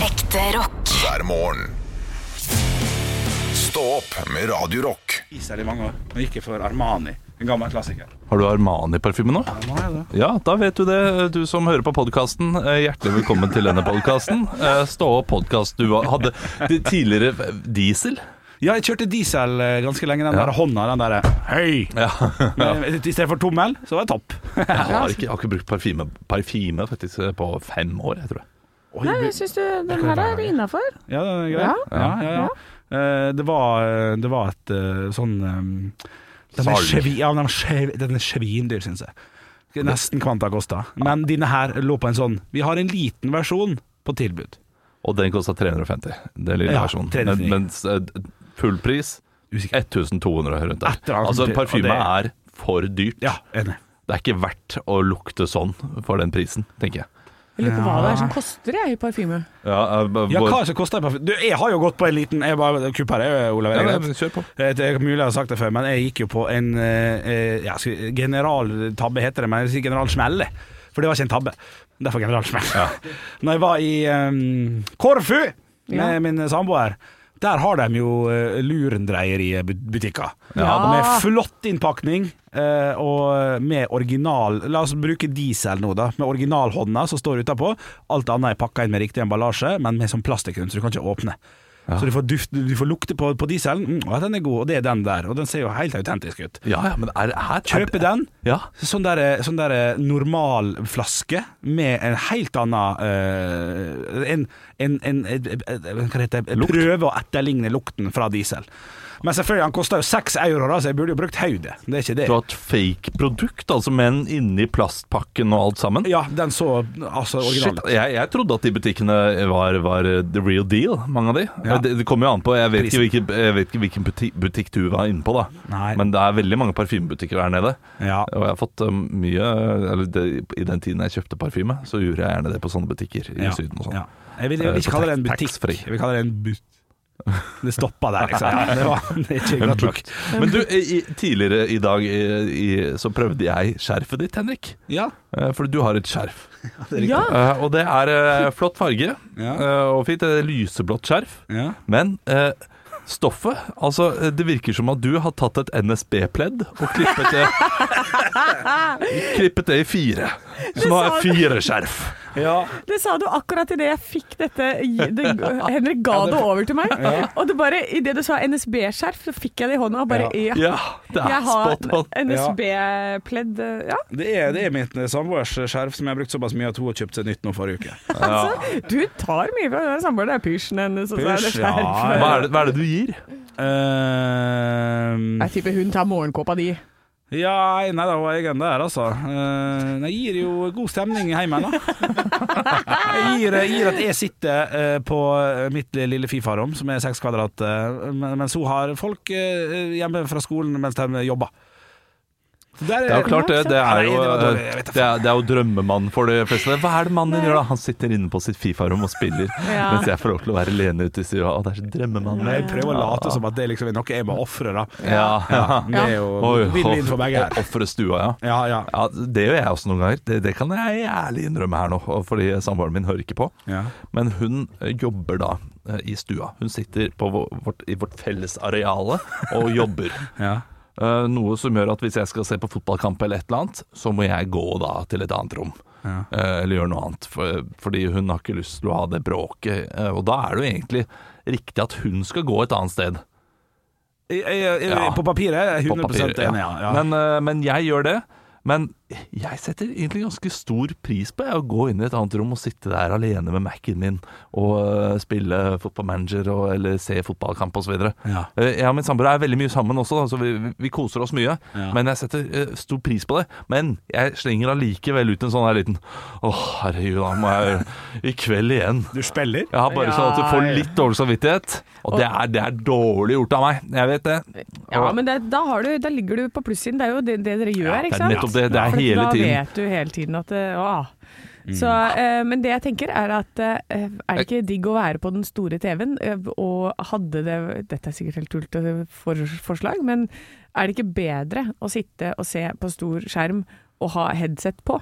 Ekte rock. hver morgen. Stå opp med Radio Rock. Isel i mange år, men ikke for Armani, en gammel klassiker. Har du Armani-parfyme nå? Ja, da vet du det, du som hører på podkasten. Hjertelig velkommen til denne podkasten. Stå opp podkast. Du hadde de- tidligere diesel. Ja, jeg kjørte diesel eh, ganske lenge, den der hånda, den der Hei! Ja. Men eh, i stedet for tommel, så var det topp. Jeg har ikke, jeg har ikke brukt parfyme, parfyme faktisk eh, på fem år, jeg tror. jeg. Nei, jeg syns den her er innafor. Ja, det er greit. Ja, ja, ja. Eh, Det var, det var et eh, sånn eh, Den er, Salg. sjevi, ja, den er, sjev, den er svindyr, syns jeg. Nesten Quanta Costa. Men dine her lå på en sånn Vi har en liten versjon på tilbud. Og den kosta 350, den lille Ja, versjonen. 350. Men- Mens eh, full pris Usikker. 1200 rundt der. Etter alt- Altså, parfyme og er for dyrt. Ja, enig. Det er ikke verdt å lukte sånn for den prisen, tenker jeg. Jeg lurer på hva det er som koster jeg, i parfyme. Ja, Ja, hva er det som koster en parfyme? Du, jeg har jo gått på en liten Jeg bare kupper deg, Olav. Er det greit? Kjør på. Eh, Det er mulig jeg har sagt det før, men jeg gikk jo på en eh, ja, skal- generaltabbe, heter det, men jeg sier generalsmell. jeg. For det var ikke en tabbe. Derfor generalsmell. Når jeg var i eh, Korfu med Ja. min samboer, der har de jo eh, lurendreieriebutikker. Ja. Med flott innpakning eh, og med original La oss bruke diesel nå, da. Med originalhånda som står utapå. Alt annet er pakka inn med riktig emballasje, men med sånn plastikkrundt, så du kan ikke åpne. Så du får, duft, du får lukte på, på dieselen. Mm, å, den er god, og det er den der. Og den ser jo helt autentisk ut. Ja, ja, men er, her, Kjøpe den. Ja. Sånn der, sånn der normal flaske med en helt annen eh, en, en, en, eh, eh, Hva heter det? Prøve å etterligne lukten fra diesel. Men selvfølgelig, han kosta jo seks euro, da, så jeg burde jo brukt hodet. Det er ikke det. Du har et fake produkt, altså menn inni plastpakken og alt sammen. Ja, den så altså original Shit, ut. jeg, jeg trodde at de butikkene var, var eh, the real deal, mange av de. Ja. Det, det kommer jo an på, jeg vet, ikke Prisen. hvilken, jeg vet ikke hvilken butikk, butikk du var inne på, da. Nei. Men det er veldig mange parfymebutikker der nede. Ja. Og jeg har fått um, mye eller det, I den tiden jeg kjøpte parfyme, så gjorde jeg gjerne det på sånne butikker i Ja, Syden og sånn. ja. Jeg vil, jeg vil ikke Eh, kalle det en tax- butikk. taxfree. Jeg vil kalle det en but. Det stoppa der, liksom. Det var det er ikke En godt nok. bukt. Men du, i, i- tidligere i dag i, i, så prøvde jeg skjerfet ditt, Henrik. Ja. Eh, For du har et skjerf. Ja, Eh, og det er eh, flott farge Ja. eh, og fint. Det er lyseblått skjerf. ja. Men eh, stoffet Altså, eh, det virker som at du har tatt et NSB-pledd og klippet det Klippet det i fire. Så nå har jeg fire skjerf. ja. det sa du akkurat idet jeg fikk dette det, Henrik ga det over til meg. Og det bare, idet du sa NSB-skjerf, så fikk jeg det i hånda og bare ja. Ja, det er Jeg har spot on. NSB-pledd Ja, Det er, det er mitt samboers skjerf som jeg har brukt såpass mye at hun har kjøpt seg nytt nå forrige uke. altså. Du tar mye fra den samboeren. Det er pysjen hennes, og så er det Pysj, ja. skjerf. Hva er, det, hva er det du gir? Ehm, Jeg tipper hun tar morgenkåpa di. ja, nei, det var egen der, altså. Uh, jeg gir jo god stemning i heimen, da. Jeg gir, jeg gir at jeg sitter eh, på mitt lille Fifa-rom, som er seks kvadrat, eh, men- mens hun har folk eh, hjemme fra skolen mens de jobber. Så der Det er jo klart det. Det er jo, Nei, det var dårlig, jeg eh, vet da det er, det er jo drømmemann for de fleste. Hva er det mannen din gjør da? Han sitter inne på sitt Fifa-rom og spiller, Ja. mens jeg får lov til å være alene ute i stua. Å, det er så drømmemannen. Jeg prøver å late som at det liksom er noe jeg må ofre, da. Ja. Det er jo Oi, vinn-vinn for begge her. Ofre stua, ja. Ja, ja. Ja, Det gjør jeg også noen ganger. Det, det kan jeg ærlig innrømme her nå, og fordi samboeren min hører ikke på. Ja. Men hun eh, jobber da eh, i stua. Hun sitter på vå- vårt, i vårt felles areale og jobber. ja. Eh, Noe som gjør at hvis jeg skal se på fotballkamp eller et eller annet, så må jeg gå da til et annet rom. Ja. Eh, Eller gjøre noe annet. For, fordi hun har ikke lyst til å ha det bråket. Eh, Og da er det jo egentlig riktig at hun skal gå et annet sted. Jeg, jeg, jeg, Ja. På papiret er jeg på 100 papiret, enig, ja. ja. Men, eh, men jeg gjør det. Men jeg setter egentlig ganske stor pris på jeg, å gå inn i et annet rom og sitte der alene med Mac-en min og eh, spille fotballmanager og, eller se fotballkamp osv. Ja. Eh, Jeg og min samboer er veldig mye sammen også, da, så vi, vi- vi koser oss mye. Ja. Men jeg setter eh, stor pris på det. Men jeg slenger allikevel ut en sånn her liten Å, herregud, da må jeg I kveld igjen. du spiller? Jeg har bare sånn at du får Ja. litt dårlig samvittighet. Og det er, det er dårlig gjort av meg. Jeg vet det. Ja, Og- men det, da, har du, da ligger du på plussiden. Det er jo det, det dere gjør, det er ikke sant? nettopp det. Det er For hele tiden. Mm. Da vet du hele tiden at det, å. ah. Så, eh, men det jeg tenker er at eh, er det ikke digg å være på den store TV-en eh, og hadde det Dette er sikkert helt tullete for, forslag, men er det ikke bedre å sitte og se på stor skjerm og ha headset på?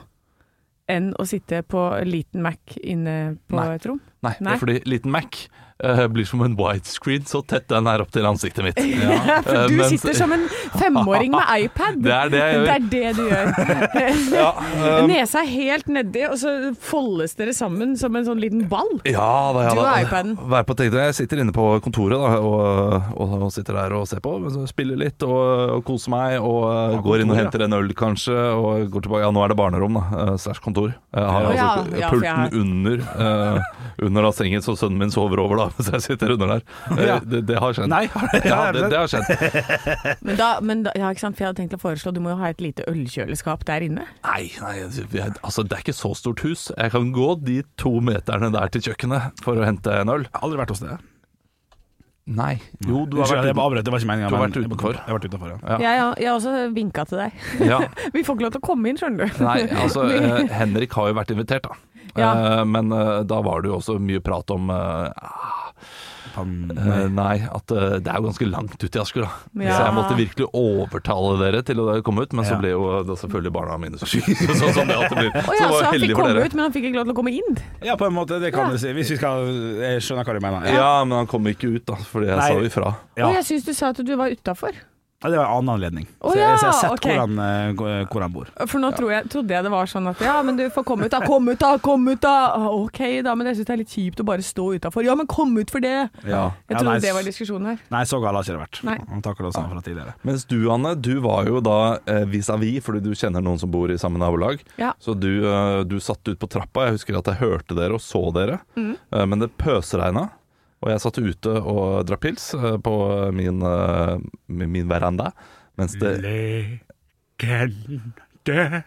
enn å sitte på liten Mac inne på Nei. et rom? Nei, det Nei. er fordi liten Mac eh, blir som en widescreen, så tett den er opp til ansiktet mitt. For Eh, du mens- sitter som en femåring med iPad. Det er det jeg Det gjør. er det du gjør. Ja, eh, Nesa er helt nedi, og så foldes dere sammen som en sånn liten ball. ja da, ja Du da. og iPaden. Vær på tekne. Jeg sitter inne på kontoret da, og, og, og sitter der og ser på. men så Spiller litt og, og koser meg. Og eh, går inn og kontor, henter en øl, kanskje. Og går tilbake. Ja, nå er det barnerom, da. eh, Slash kontor. Jeg har Å, ja, altså ja, for jeg har- pulten under, eh, under da sengen, så sønnen min sover over, da. Så jeg sitter under der. Eh, Ja. Det, det har skjedd. Nei, Ja, det, det har skjedd. Men da, men da ja, ikke sant? For jeg hadde tenkt å foreslå du må jo ha et lite ølkjøleskap der inne. Nei, nei jeg, altså det er ikke så stort hus. Jeg kan gå de to meterne der til kjøkkenet for å hente en øl. Jeg har aldri vært hos det. Nei. Jo, du har Unnskyld, vært jeg uten. avbrøt, det var ikke meninga. Du har men- vært utenfor. Jeg har vært utenfor, ja. Ja. Jeg, jeg har også vinka til deg. Ja. Vi får ikke lov til å komme inn, skjønner du. Nei, altså eh, Henrik har jo vært invitert, da. Ja. Eh, Men eh, da var det jo også mye prat om eh, ah, Pan- eh, Nei, at eh, det er jo ganske langt ut i Asker, da. Ja. Så jeg måtte virkelig overtale dere til å komme ut, men Ja. så ble jo eh, da selvfølgelig barna mine så syke. Så, sånn som det alltid blir. Å Så ja, det så var han fikk heldig for komme dere. ut, men han fikk ikke lov til å komme inn. ja, på en måte. Det kan Ja. du si. Hvis vi skal Jeg skjønner hva du mener. Ja. Ja, men han kom ikke ut, da, fordi jeg Nei. sa jo ifra. Ja. Og jeg syns du sa at du var utafor. Ja, Det var en annen anledning. Å så, jeg, så jeg har ja, sett ok. hvor, han, eh, gå- hvor han bor. For nå tror jeg, trodde jeg det var sånn at ja, men du får komme ut da, kom ut da, kom ut da. Ah, Ok da, men jeg syns det er litt kjipt å bare stå utafor. Ja, men kom ut for det! Ja. Jeg Ja, trodde nei, det var diskusjonen her. Nei, så gal har ikke det vært. Nei. Han takler oss fra tidligere. Mens du, Anne, du var jo da eh, vis-à-vis, fordi du kjenner noen som bor i samme nabolag. Ja. Så du, eh, du satt ut på trappa. Jeg husker at jeg hørte dere og så dere, Mm. eh, men det pøsregna. Og jeg satt ute og drakk pils eh, på min, eh, min min veranda. Mens det Legende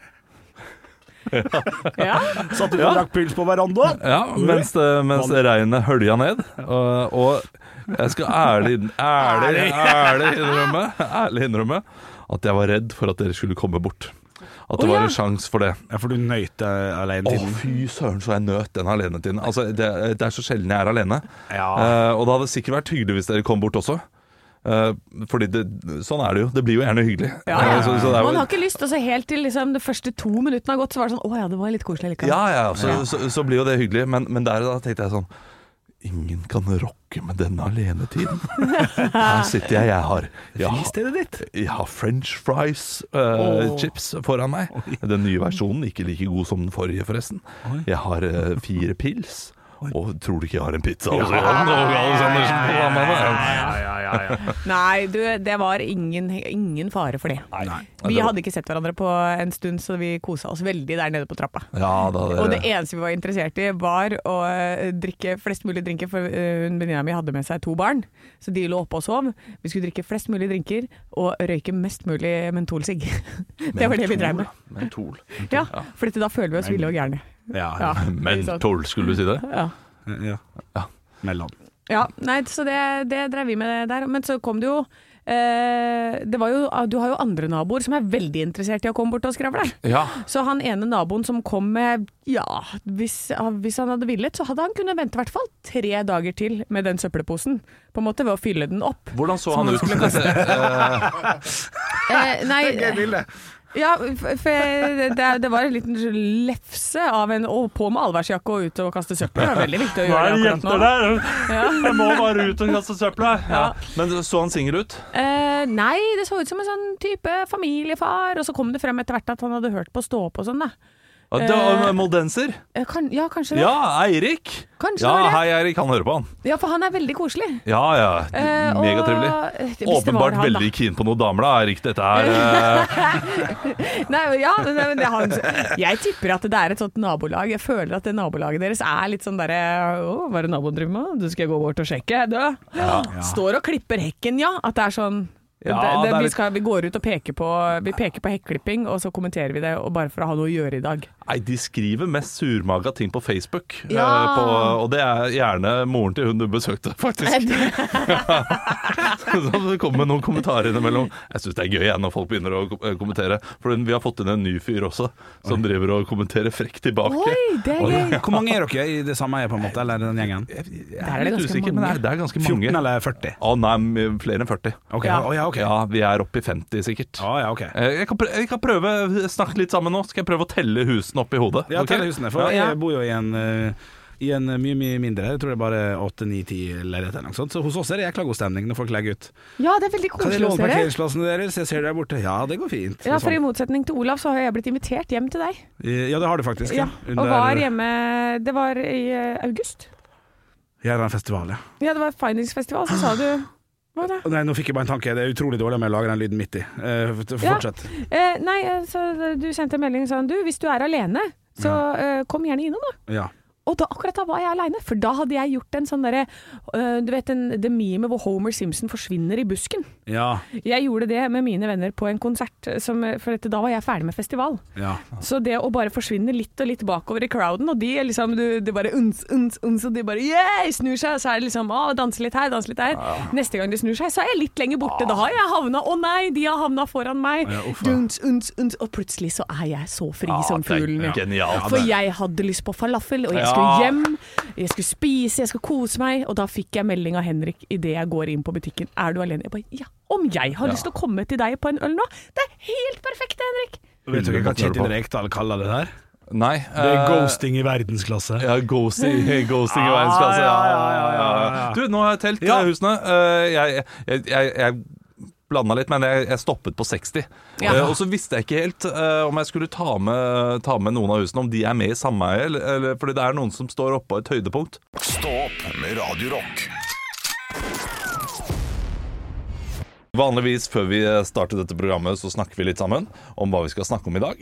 Ja, Satt du og drakk pils på verandaen? Ja, mens, det- mens det regnet hølja ned. Og, og jeg skal ærlig, ærlig, ærlig, innrømme, ærlig innrømme at jeg var redd for at dere skulle komme bort. At det Å, var ja. en sjanse for det. Ja, for du nøyt uh, alene Å, tiden. fy søren, så jeg nøt den alenetiden. Altså, det, det er så sjelden jeg er alene. Ja. Eh, og det hadde sikkert vært hyggelig hvis dere kom bort også. Eh, fordi det, sånn er det jo. Det blir jo gjerne hyggelig. Ja, ja. Eh, så, så det er jo- Man har ikke lyst, og så helt til liksom, de første to minuttene har gått, så var det sånn Å ja, det var litt koselig likevel. ja, ja, så, Så, så blir jo det hyggelig. Men, men der da tenkte jeg sånn Ingen kan rokke med denne alenetiden. Her sitter jeg, jeg har Jeg har, Fristedet ditt. jeg har french fries eh, chips foran meg. Den nye versjonen, ikke like god som den forrige, forresten. Jeg har eh, fire pils. Og tror du ikke jeg har en pizza også? Jan Åge Aleksandersen på Hamar? Nei, du, det var ingen, ingen fare for det. Nei. Vi hadde ikke sett hverandre på en stund, så vi kosa oss veldig der nede på trappa. Ja da, Og det det, eneste vi var interessert i, var å eh, drikke flest mulig drinker, for eh, hun venninna mi hadde med seg to barn, så de lå oppe og sov. Vi skulle drikke flest mulig drinker og røyke mest mulig mentolsigg. Det var det vi drev med. Mentol. Ja, for dette, da føler vi oss ville og gærne. Ja. Ja, ja. Mentol, skulle du si det? ja. ja. Ja. Mellom. Ja, nei, så det, det drev vi med der. Men så kom det jo eh, det var jo, Du har jo andre naboer som er veldig interessert i å komme bort og skravle. Ja. Så han ene naboen som kom med Ja, hvis, hvis han hadde villet, så hadde han kunnet vente i hvert fall tre dager til med den søppelposen. På en måte ved å fylle den opp. Hvordan så han ut? Eh, Eh, nei, ja, for for det, det var en liten lefse av en å, på med allværsjakke og ut og kaste søppel. Det er veldig viktig å gjøre det akkurat nå. der! Ja. Jeg må bare ut og kaste søpla! Ja. Ja. Men så han singel ut? Eh, nei, det så ut som en sånn type familiefar, og så kom det frem etter hvert at han hadde hørt på Stå opp og sånn, da. Ja, det var en Moldenser? Eh, kan, ja, kanskje det. Ja, Eirik! Kanskje Ja, det var det. hei, Eirik. Han hører på, han. Ja, for han er veldig koselig. Ja, ja. Eh, og- Megatrivelig. Eh, hvis det var Åpenbart han, da. veldig keen på noen damer, da, Eirik. Dette er eh, Nei, men ja, men, men det, er han, jeg tipper at det er et sånt nabolag. Jeg føler at det nabolaget deres er litt sånn derre Å, hva er det naboen driver med? Du skal jeg gå bort og sjekke? Du. Står og klipper hekken, ja. At det er sånn Ja, det, det det, er vi, litt- skal, vi går ut og peker på, vi peker på hekklipping, og så kommenterer vi det, og bare for å ha noe å gjøre i dag. Nei, de skriver mest surmaga ting på Facebook. eh, Ja. På, og det er gjerne moren til hun du besøkte, faktisk. Så det kommer noen kommentarer innimellom. Jeg syns det er gøy jeg, når folk begynner å kom- eh, kommentere. For vi har fått inn en ny fyr også, som driver og kommenterer frekt tilbake. Oi, det er gøy! Hvor mange er dere i det samme eiet, på en måte? Eller den gjengen? Jeg Der er er det litt ganske usikker, men det er, det er ganske 14 mange. eller 40? Å nei, m- flere enn 40. Ok, Ja. Å, ja, ok. Ja, vi er oppe i 50 sikkert. Å, ja, ok. Eh, Jeg kan, prøve, jeg kan prøve snakke litt sammen nå. Skal jeg prøve å telle husene husene opp i hodet. Ja, ok? telle husene. For jeg bor jo i en, eh, i en mye, mye mindre. Jeg tror det er bare åtte, ni, ti leiligheter eller noe sånt. Så hos oss er det jækla god stemning når folk legger ut. Ja, det er veldig Kan jeg koselig låne hos dere. parkeringsplassene deres? Jeg ser dere er borte. Ja, det går fint. Ja, Og for i sånn. motsetning til Olav, så har jeg blitt invitert hjem til deg. ja, det har du faktisk. Ja, og var hjemme Det var i eh, august. Ja, det er en festival, ja. Ja, det var Findingsfestival, så sa du Hva da? Nei, nå fikk jeg bare en tanke. Det er utrolig dårlig med å lage den lyden midt i. Eh, f- Ja. fortsett. Eh, nei, eh, så du sendte en melding og sa du, hvis du er alene, så eh, kom gjerne innom, da. Ja. Og da, akkurat da var jeg aleine, for da hadde jeg gjort en sånn derre eh, Du vet den, det memet hvor Homer Simpson forsvinner i busken. Ja. Jeg gjorde det med mine venner på en konsert, eh, som, for dette, da var jeg ferdig med festival. ja. Så det å bare forsvinne litt og litt bakover i crowden, og de er liksom du, de bare uns, uns, uns, og de bare yeah, snur seg, og så er det liksom å, danse litt her, danse litt der. Neste gang de snur seg, så er jeg litt lenger borte. Da har jeg havna Å nei, de har havna foran meg. Ja, uff, ja. Duns, uns, uns, og plutselig så er jeg så fri Ja, som det er fuglen. ja. Genialt. For jeg hadde lyst på falafel, og jeg Ja. skulle hjem, jeg skulle spise, jeg skulle kose meg. Og da fikk jeg melding av Henrik idet jeg går inn på butikken. Er du alene? Jeg bare, ja. Om jeg har lyst til å komme til deg på en øl nå? Det er helt perfekt, Henrik! Vet du ikke hva Kjetil Rekdal kaller det der? Nei. Det er eh, ghosting i verdensklasse. Ja, ghosting, ghosting i verdensklasse. Ja, Ah, ja, ja, ja, ja. Du, nå har jeg telt Ja. eh, husene. Eh, jeg, jeg, jeg, jeg blanda litt, men jeg, jeg stoppet på 60. Ja. Eh, og så visste jeg ikke helt eh, om jeg skulle ta med, ta med noen av husene, om de er med i sameie, eller, eller fordi det er noen som står oppå et høydepunkt. Stå opp med Radio Rock. Vanligvis før vi starter dette programmet, så snakker vi litt sammen om hva vi skal snakke om i dag.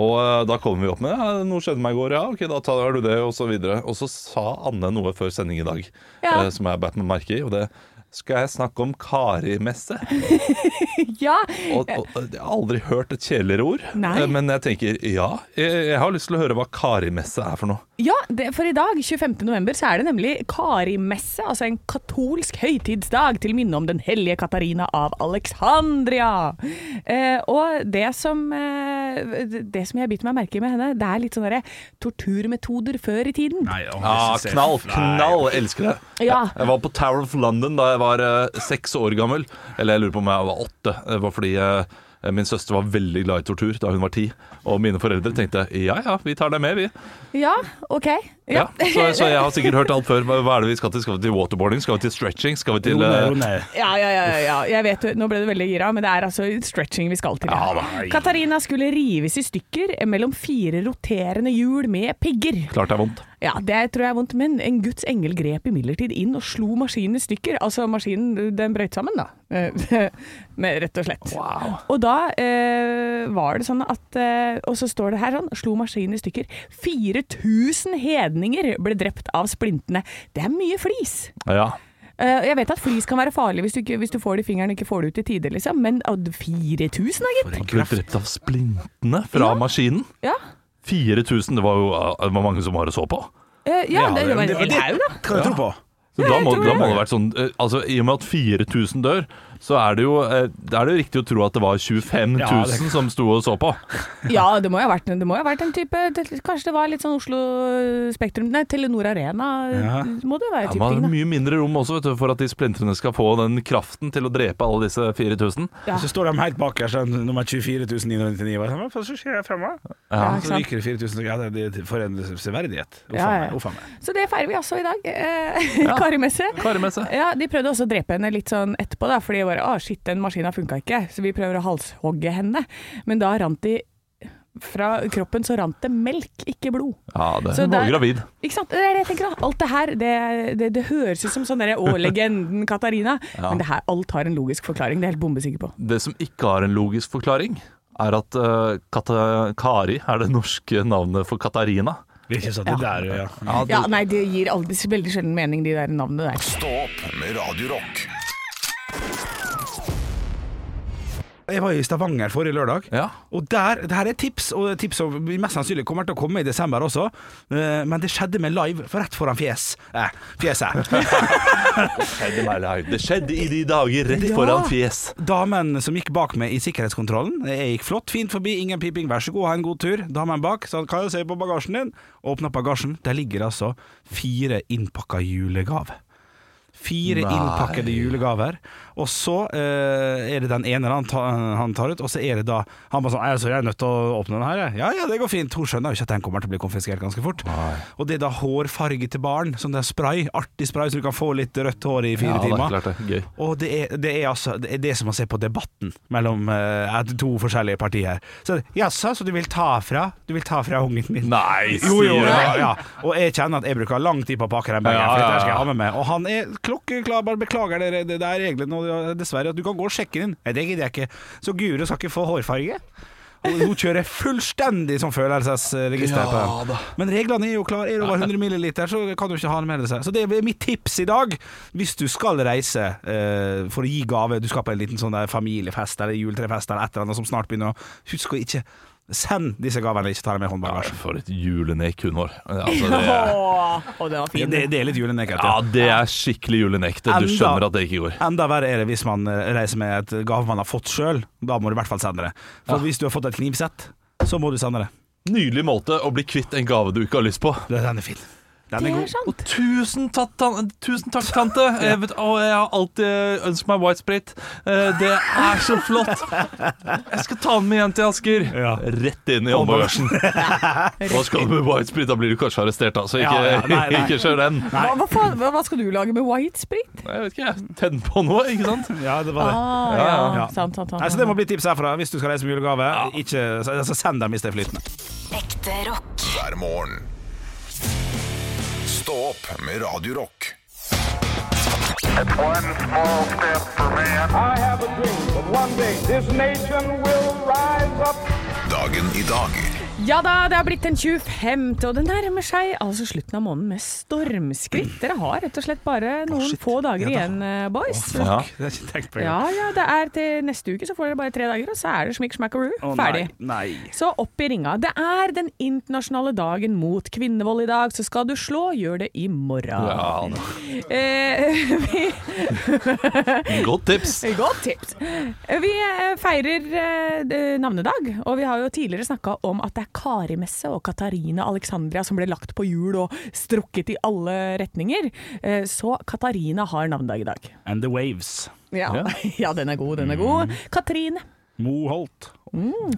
Og eh, da kommer vi opp med ja, 'noe skjedde meg i går', ja, ok, da tar du det, og så videre. Og så sa Anne noe før sending i dag Ja. eh, som jeg beit meg merke i, og det skal jeg snakke om Kari-messe. Ja, Og, og jeg har aldri hørt et kjedeligere ord, Nei. eh, men jeg tenker ja. Jeg, jeg har lyst til å høre hva Kari-messe er for noe. Ja, det, for i dag, 25. november, så er det nemlig Karimesse, altså en katolsk høytidsdag til minne om den hellige Katarina av Alexandria. Eh, og det som, eh, det som jeg biter meg merke i med henne, det er litt sånne derre torturmetoder før i tiden. Nei, å, Ah, Ja, jeg synes jeg- knall, Nei. knall, elsker det. Ja. Jeg var på Tower of London da jeg var eh, seks år gammel. Eller jeg lurer på om jeg var åtte. Det var fordi eh, min søster var veldig glad i tortur da hun var ti. Og mine foreldre tenkte ja ja, vi tar deg med, vi. Ja, OK. Ja. Så, så jeg har sikkert hørt alt før. Hva hva er det vi skal til? Skal vi til waterboarding? Skal vi til stretching? Skal vi til Jo, nei, eh, jo, nei. Ja, ja, ja, ja, ja. Jeg vet, nå ble du veldig gira, men det er altså stretching vi skal til. Ja, da. Katarina skulle rives i stykker mellom fire roterende hjul med pigger. Klart det er vondt. Ja, det tror jeg er vondt, men en Guds engel grep imidlertid inn og slo maskinen i stykker. Altså maskinen, den brøyt sammen, da. Eh, Med, rett og slett. Og da eh, var det sånn at eh, Og så står det her sånn, slo maskinen i stykker. 4000 hedninger ble drept av splintene. Det er mye flis. Ja. Eh, jeg vet at flis kan være farlig hvis du, ikke, hvis du får det i fingeren og ikke får det ut i tide, liksom, men å, 4000 da, gitt. Han ble drept av splintene fra maskinen. Ja. 4000. Det var jo eh, det var mange som var å så på. Eh, ja, det, det var men en hel haug, da. kan jeg tro på. Så da, må, tror da det. må det ha vært sånn eh, Altså I og med at 4000 dør, så er det jo eh, Da er det jo riktig å tro at det var 25 000 Ja, det- som sto og så på. Ja, det må jo ha vært, det må jo ha vært en type det, Kanskje det var litt sånn Oslo Spektrum Nei, Telenor Arena eh, Ja. må det jo være Det type var ting, da. mye mindre rom også vet du, for at de splintrene skal få den kraften til å drepe alle disse 4000. Ja. Så står de helt bakerst, den nummer 24999. sånn, Hva er det som skjer fremme? Ja, ikke Så sant? ryker det 4000 ja, det er For en severdighet. Uff a Ja, ja. meg, uff a meg. Så det feirer vi altså i dag. Eh, Karimesse. Karimesse. Ja, de prøvde også å drepe henne litt sånn etterpå, da, fordi de bare Å, shit, den maskina funka ikke, så vi prøver å halshogge henne. Men da rant de Fra kroppen så rant det melk, ikke blod. Ja, det Så Hun var der- gravid. Ikke sant? Det er det jeg tenker da. Alt det her, det, det, det høres ut som sånn derre Å, legenden Katarina. Men det her, alt har en logisk forklaring, det er jeg helt bombesikker på. Det som ikke har en logisk forklaring, er at eh, Kata Kari er det norske navnet for Katarina. Vi er ikke sånn, det der, ja. Ja, nei, det gir aldri, veldig sjelden mening, de der navnene der. Stå opp med Radio Rock. Jeg var i Stavanger forrige lørdag. Ja. Og der, det her er tips, og tips som vi mest sannsynlig kommer til å komme i desember også. Eh, Men det skjedde med live for rett foran fjes. Eh, fjeset. Skjedde meg live. Det skjedde i de dager rett Ja. foran fjes. Damen som gikk bak meg i sikkerhetskontrollen, jeg gikk flott, fint forbi, ingen piping, vær så god, ha en god tur. Damen bak sa kan jeg se på bagasjen din? Åpna bagasjen, der ligger altså fire innpakka julegave. Fire Nei. innpakkede julegaver. Og så eh, er det den ene han, ta, han tar ut, og så er det da Han bare sånn «Nei, altså, 'Jeg er nødt til å åpne den her, jeg.' Ja ja, det går fint. Hun skjønner jo ikke at den kommer til å bli konfiskert ganske fort. Og det er da hårfarge til barn, sånn der spray. Artig spray, så du kan få litt rødt hår i fire Ja, det er timer. klart det. Gøy. Og det er, det er altså Det er det som å se på debatten mellom eh, at to forskjellige partier. Så er det, Jaså, så du vil ta fra Du vil ta fra ungen min? Nei, Jo, jo, sier ja, jeg. ja. Og jeg kjenner at jeg bruker lang tid på å pakke den bagen, Ja, for ja, dette skal ja. jeg ha med meg. Og han er klokkeklar, bare beklager dere, det det er reglene og dessverre at du kan gå og sjekke den. Nei, det gidder jeg ikke. Så Guro skal ikke få hårfarge. Hun hun kjører fullstendig som følelsesregister på Ja, den. da. Men reglene er jo klare. Er det over 100 ml, så kan du ikke ha den med deg. Så det er mitt tips i dag, hvis du skal reise eh, for å gi gave. Du skal på en liten sånn der familiefest eller juletrefest eller et eller annet som snart begynner. å- Husk å ikke send disse gavene, ikke ta dem med i Ja, håndbagasjen. For et julenek hun var. Altså, det, Åh, og den var fin. Det, det er litt julenekk. ja, det er skikkelig julenek. det. Du Enda- skjønner at det ikke går. Enda verre er det hvis man eh, reiser med et gave man har fått sjøl. Da må du i hvert fall sende det. For hvis du har fått et knivsett, så må du sende det. Nydelig måte å bli kvitt en gave du ikke har lyst på. Den er fin. Den Det er er god. sant. Tusen, tatt, tan- tusen takk, tante. Jeg, vet, å, jeg har alltid ønsket meg white sprit. Eh, Det er så flott. Jeg skal ta den med igjen til Asker. Ja. Rett inn i håndbagasjen. Hva skal du med white sprit? Da blir du kanskje arrestert, da. Så ikke, Ja, ja, nei, nei. ikke kjør den. Hva, hva, faen, hva, hva skal du lage med white sprit? Jeg vet ikke, jeg. Tenn på noe, ikke sant? Ja, det var det. Ah, ja, ja, ja. Sant, sant, sant, Nei, så det må bli tips herfra hvis du skal reise med julegave. Ikke, altså, send dem hvis det er flytende. Ekte rock. hver morgen. Stå opp med Radio Rock. One small step for man. I have a dream that one day this nation will rise up. Dagen i dag Ja da, det har blitt den 25., og det nærmer seg altså slutten av måneden med stormskritt. Dere har rett og slett bare noen shit. få Ja dager da. igjen, eh, boys. Ja. Det har jeg ikke tenkt på Ja, ja, det er til neste uke så får dere bare tre dager, og så er det smikk smackaroo. Ferdig. Nei. Så opp i ringa. Det er den internasjonale dagen mot kvinnevold i dag, så skal du slå, gjør det i morgen. Ja, Eh, vi, Godt tips. godt tips. Vi eh, feirer eh, d- navnedag, og vi har jo tidligere snakka om at det er Karimesse og Katarina Alexandria som ble lagt på hjul og strukket i alle retninger. Eh, så Katarina har navnedag i dag. And the Waves. Ja, ja den er god, den er god. Katrine. Mo Holt.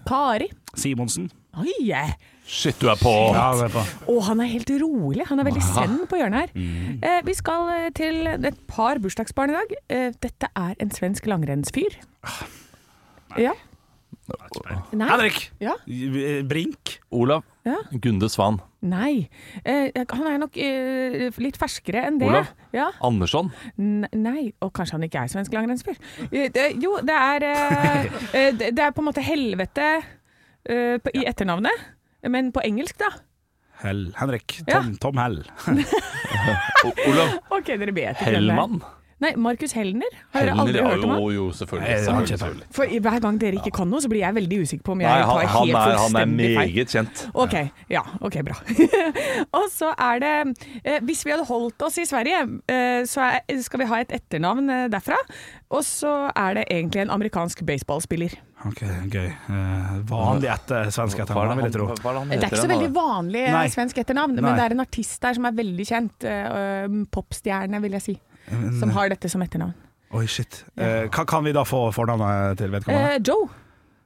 Kari. Simonsen. Oi! eh. Shit, du er på. det er på. Og han er helt rolig. Han er veldig zen på hjørnet her. Mm. Eh, vi skal eh, til et par bursdagsbarn i dag. Eh, dette er en svensk langrennsfyr. Ah. Ja. Nei. Henrik! Ja. Brink. Olav Ja. Gunde Svan. Nei. Eh, han er nok eh, litt ferskere enn det. Olav? Ja. Andersson. N- Nei, og kanskje han ikke er svensk langrennsfyr. Eh, det- Jo, det er eh, eh, Det det er på en måte helvete eh, på, i etternavnet. Men på engelsk, da. Hell. Henrik. Ja. Tom, Tom Hell. O- Olav Ok, dere vet ikke hvem det er. Hellmann. Nei, Markus Helner. Har dere Hellner, aldri ja, hørt om han? jo, jo, selvfølgelig. Nei, det har jeg Eh, ikke selvfølgelig, selvfølgelig. For i- hver gang dere ikke kan noe, så blir jeg veldig usikker på om jeg Nei, han, tar han, helt er, han er fullstendig feil. meget kjent. Ok, ja, ok, bra. og så er det eh, Hvis vi hadde holdt oss i Sverige, eh, så er, skal vi ha et etternavn eh, derfra. Og så er det egentlig en amerikansk baseballspiller. Ok, gøy. Eh, vanlig etter svensk etternavn, vil jeg tro. Det er ikke så veldig vanlig eh, Nei. svensk etternavn, Nei. men det er en artist der som er veldig kjent. eh, eh, Popstjerne, vil jeg si. Eh, Som har dette som etternavn. Oi, shit. Eh, kan, kan vi da få fornavnet til vedkommende? Eh, Joe.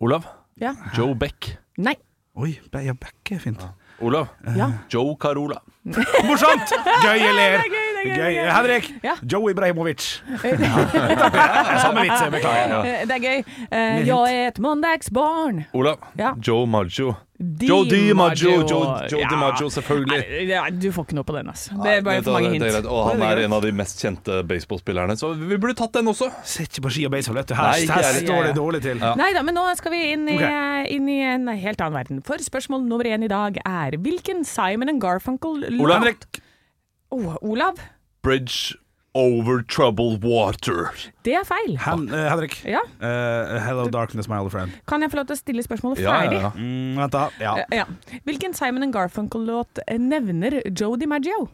Olav Ja. Joe Beck. Nei. Oi, Be- ja, Bekke er fint. Olav Ja. Joe Carola. Morsomt! Gøy, jeg ler. det er gøy, det er gøy, det er gøy. Henrik. Ja. Joe Ibrahimovic. Samme vits, jeg beklager. Eh, Det er gøy. Eh, Jeg er et mandagsbarn. Olav Ja. Joe Maggio. Di Joe DiMaggio. Maggio. Joe, Joe Ja. DiMaggio, selvfølgelig. Nei, ja, du får ikke noe på den, altså. Det er bare Nei, for mange det er hint. greit. Og han er en av de mest kjente baseballspillerne, så vi burde tatt den også. Sitter ikke på ski og baseball, vet du. Her, Nei, ikke her jeg. står det dårlig til. Ja. Nei da, men nå skal vi inn i, eh, Ok. inn i en helt annen verden. For spørsmål nummer én i dag er hvilken Simon and Garfunkel Olav. Oh, Olav. Bridge over troubled water. Det er feil. Hen, eh, Henrik. Ja, Eh, hello darkness, my old friend. Kan jeg få lov til å stille spørsmålet Ja, ferdig? ja, ja. Mm, vent, da. Ja. Eh, ja. Hvilken Simon and Garfunkel-låt eh, nevner Jodi Maggio?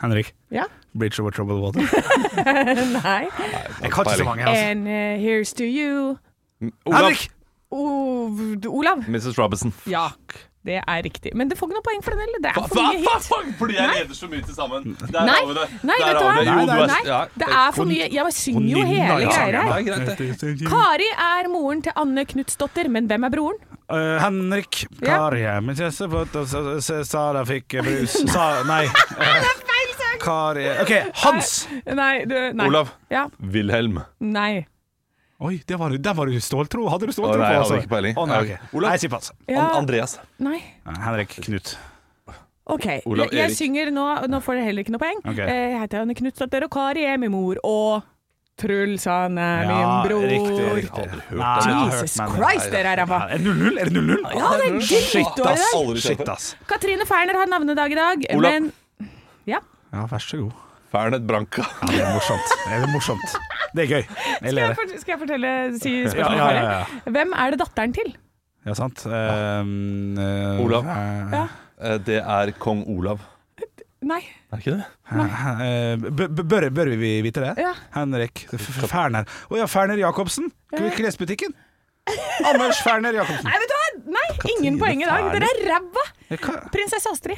Henrik. Ja? Bridge over troubled water. Nei. Jeg kan ikke så mange, altså. And eh, here's to you Olav. Henrik! Ov- Olav. Mrs. Robinson. Ja. Det er riktig. Men det får ikke noe poeng for den heller. Det er Fa- for fa- mye hit. fa- fa- Fordi jeg leder så mye til sammen. Der Nei, har vi det. nei, Der vet du har vi hva? det. Jo, Nei, du nei, er- Nei, ja, det er for mye. Jeg synger jo hele liksom. ja, ja, greia her. det er greit, det. Kari er moren til Anne Knutsdotter, men hvem er broren? Eh, Henrik Ja. Kari prinsesse på at- s- s- Sara fikk brus Sa, Nei. eh, Kari OK, Hans! Nei, du, nei. Olav. Ja, Wilhelm. nei. Oi, det var, der var du ståltro. Hadde du ståltro Å, nei, på, jeg altså? hadde ikke peiling. Å, nei, ok. Olav? Nei, jeg sier pass. Ja, An- Andreas. nei. Henrik Knut. Ok, Olav jeg, jeg Erik. synger nå, nå får dere heller ikke noe poeng. Ok. Eh, Jeg heter Anne Knutsdatter, og Kari er min mor, og Truls, han er min bror. riktig. riktig. Aldri hørt Nei, jeg har hørt, Jesus men- Christ, dere er ræva. Ja, Er det 0-0? Er det 0-0? Ja, det er Shit, drittår i ass. dag. Aldri skjønt Shit, det. ass. Katrine Ferner har navnedag i dag, Olav. men ja. Ja, vær så god. Fernet Branca. Ja, det er morsomt. Det er morsomt. Det er gøy. Jeg Skal ler. jeg, fort- skal jeg fortelle si Ja, spørsmålet? ja, Kari? ja, ja. Hvem er det datteren til? ja, sant. Ehm, eh, Olav. eh, Ja. Eh, Det er kong Olav. Nei. Er det ikke det? eh, b- b- Bør, bør vi vite det? Ja. Henrik F- F- Ferner. Å ja, Ferner Jacobsen. K- Klesbutikken. Anders Ferner Jacobsen. Nei, vet du hva? Nei, ingen poeng i dag. Dere er ræva! Hva- Prinsesse Astrid.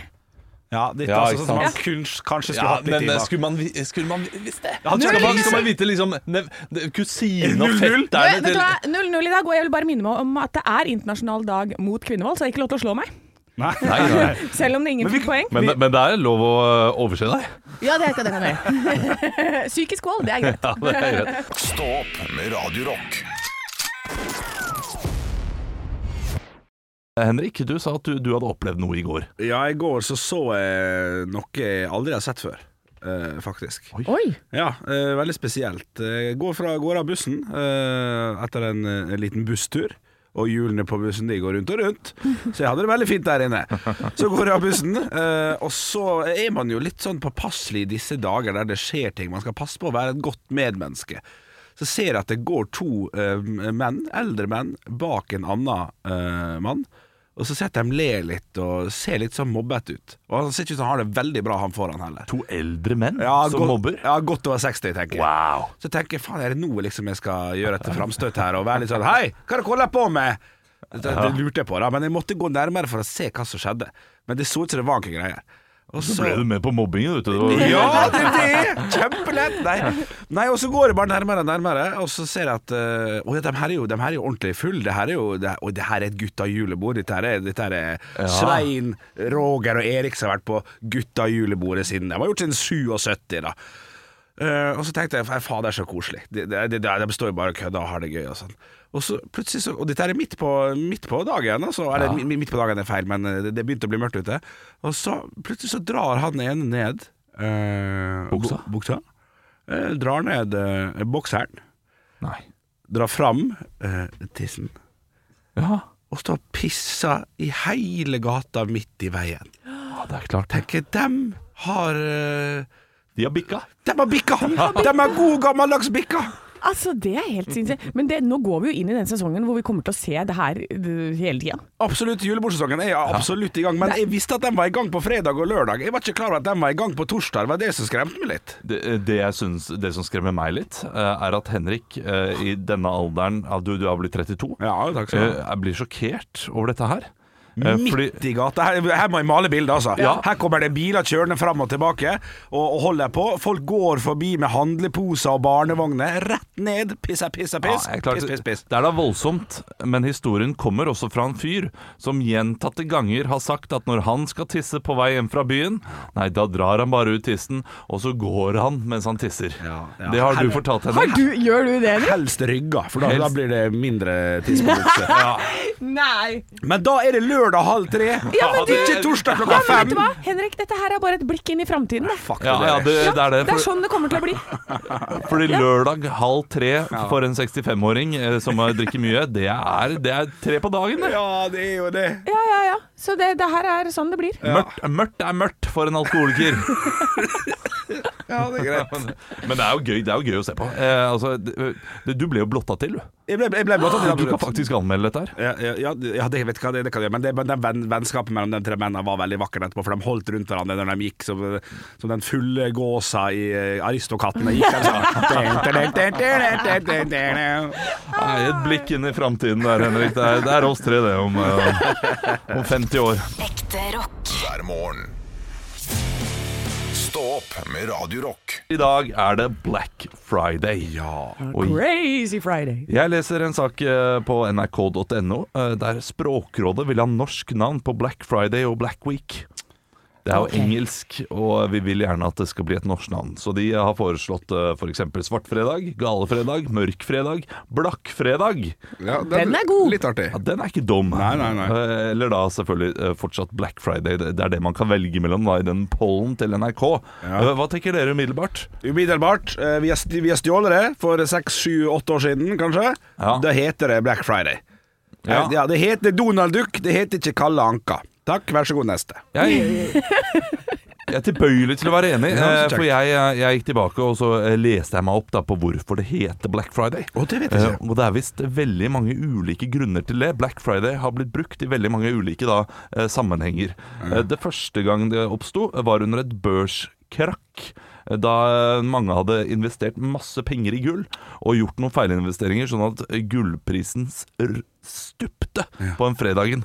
Ja, ditt, Ja, altså, ikke som man sant. kun, kanskje skulle Ja, hatt litt men i eh, bak. skulle man, vi- skulle man vi- visst det? Ja, Skal man, null. skal man vite liksom nev, ne- Kusine og Null, null. Vet fetterne vet til du hva? 0-0 i dag, og jeg vil bare minne meg om at det er internasjonal dag mot kvinnevold, så jeg har ikke lov til å slå meg. Nei. Nei, nei. Selv om det er ingen Men vi- fikk poeng. Men, men det er lov å eh, overse deg. Ja, det, det kan jeg gjøre. Psykisk vold, det er greit. Ja, det er greit. Stå opp med Radio Rock. Eh, Henrik, du sa at du, du hadde opplevd noe i går. Ja, i går så så jeg noe jeg aldri har sett før, eh, faktisk. Oi. Ja, eh, veldig spesielt. Eh, går fra går av bussen eh, etter en, eh, en liten busstur. Og hjulene på bussen de går rundt og rundt, så jeg hadde det veldig fint der inne. Så går jeg av bussen, eh, og så er man jo litt sånn påpasselig i disse dager der det skjer ting. Man skal passe på å være et godt medmenneske. Så ser jeg at det går to eh, menn, eldre menn, bak en annen eh, mann. Og så ser jeg at de ler litt og ser litt sånn mobbete ut. Og han ser ikke ut som han har det veldig bra, han foran heller. To eldre menn Ja, som godt- mobber. Ja, godt over 60, tenker jeg. Wow. Så tenker jeg, faen, er det nå liksom jeg skal gjøre et framstøt her og være litt sånn Hei, hva er det dere holder på med? Det, det lurte jeg på, da, men jeg måtte gå nærmere for å se hva som skjedde. Men det så ut som det var noen greier. Og Så ble du med på mobbingen, vet du. Det var- ja, det er det! Kjempelett! Nei. Nei, og så går det bare nærmere og nærmere, og så ser jeg at eh, Å ja, de her er jo, de her er jo ordentlig full Det her er jo det, Og det her er et gutta julebord. Dette her er, dette her er Svein, Roger og Erik som har vært på gutta julebordet siden De har gjort siden 77, da. Eh, og så tenkte jeg "Nei, faen, det er så koselig. De, de, de, de består jo bare og kødder og har det gøy og sånn. Og så plutselig så Og dette her er midt på, midt på dagen, altså. Eller mi- midt på dagen er feil, men eh, det, det begynte å bli mørkt ute. Og så plutselig så drar han ene ned eh, Buksa? bu- buksa. Eh, drar ned eh, bokseren. Nei. Drar fram eh, tissen. Ja, Og står og pisser i hele gata midt i veien. ja, det er klart. Tenker dem har eh, De har bikka. Dem har bikka! Dem er god gammeldags bikka! Altså, det er helt sinnssykt. Men det, nå går vi jo inn i den sesongen hvor vi kommer til å se det her øh, hele tida. Absolutt, julebordsesongen er absolutt i gang, men jeg visste at den var i gang på fredag og lørdag. Jeg var ikke klar over at den var i gang på torsdag, det var det som skremte meg litt. Det, det, jeg synes, det som skremmer meg litt, eh, er at Henrik eh, i denne alderen ja, Du, du har blitt 32. Ja, takk skal du eh, ha. Jeg blir sjokkert over dette her. Eh, fordi- Midt i gata. Her, her må jeg male bildet, altså. Ja. Her kommer det biler kjørende fram og tilbake og, og holder på. Folk går forbi med handleposer og barnevogner. Rett ned. Pissa, pissa, piss. Ja, jeg er klart- piss, piss, piss. Det er da voldsomt, men historien kommer også fra en fyr som gjentatte ganger har sagt at når han skal tisse på vei hjem fra byen, nei, da drar han bare ut tissen, og så går han mens han tisser. Ja, ja. Det har du fortalt henne. Har du- Gjør du det, eller? Helst rygger, for da, Helst. da blir det mindre tidspunkt. Nei. Men da er det lørdag halv tre. Ja, men du- Ikke torsdag Ja, klokka men vet fem. du hva, Henrik, dette her er bare et blikk inn i framtiden. det. Fuck, Ja, ja, det, det, det er det. det er For, sånn det kommer til å bli. fordi lørdag halv tre for en 65-åring eh, som har- drikker mye, det er, det er tre på dagen, det. ja, det er jo det. Ja, ja, ja. Så det, det her er sånn det blir. Mørkt, mørkt er mørkt for en alkoholiker. Ja, det er greit. Men det er jo gøy, det er jo gøy å se på. Eh, altså, det, du ble jo blotta til, du. Jeg ble, jeg ble blått av Ah, Du kan faktisk anmelde dette her. Ja, ja, ja, ja, det vet hva det, det kan jeg gjøre, men det, men den venn, vennskapet mellom de tre mennene var veldig vakkert etterpå, for de holdt rundt hverandre når de gikk som, som den fulle gåsa i eh, Aristokattene gikk. altså. de sånn. Nei, et blikk inn i framtiden der, Henrik. Det er, det er oss tre, det, om, eh, om 50 år. Ekte rock. hver morgen. Stå opp med Radio Rock. I dag er det Black Friday. Ja. Og Crazy Friday. jeg leser en sak eh, på nrk.no eh, der Språkrådet vil ha norsk navn på Black Friday og Black Week. Det er jo engelsk, og vi vil gjerne at det skal bli et norsk navn. Så de har foreslått f.eks. For Svartfredag, Galefredag, Mørkfredag, Blakkfredag. Ja, Den er god. Litt artig. Ja, den er ikke dum. Nei, nei, nei. Eh, Eller da selvfølgelig eh, fortsatt Black Friday. Det det er det man kan velge mellom da, i den pollen til NRK. Eh, Hva tenker dere umiddelbart? Umiddelbart. eh, Vi har st- vi har stjålet det for seks, sju, åtte år siden, kanskje. Ja. Da heter det Black Friday. Ja. Eh, Ja, det heter Donald Duck, det heter ikke Kalle Anka. Takk, vær så god, neste. Jeg, jeg er tilbøyelig til å være enig, Ja, eh, så kjekt. for jeg, jeg gikk tilbake og så eh, leste jeg meg opp da, på hvorfor det heter Black Friday. Å, det vet jeg Eh, ikke. Og det er visst veldig mange ulike grunner til det. Black Friday har blitt brukt i veldig mange ulike da, eh, sammenhenger. Eh, Det første gang det oppsto, eh, var under et børskrakk. eh, Da eh, mange hadde investert masse penger i gull og gjort noen feilinvesteringer, sånn at eh, gullprisen s- r- stupte på en fredagen.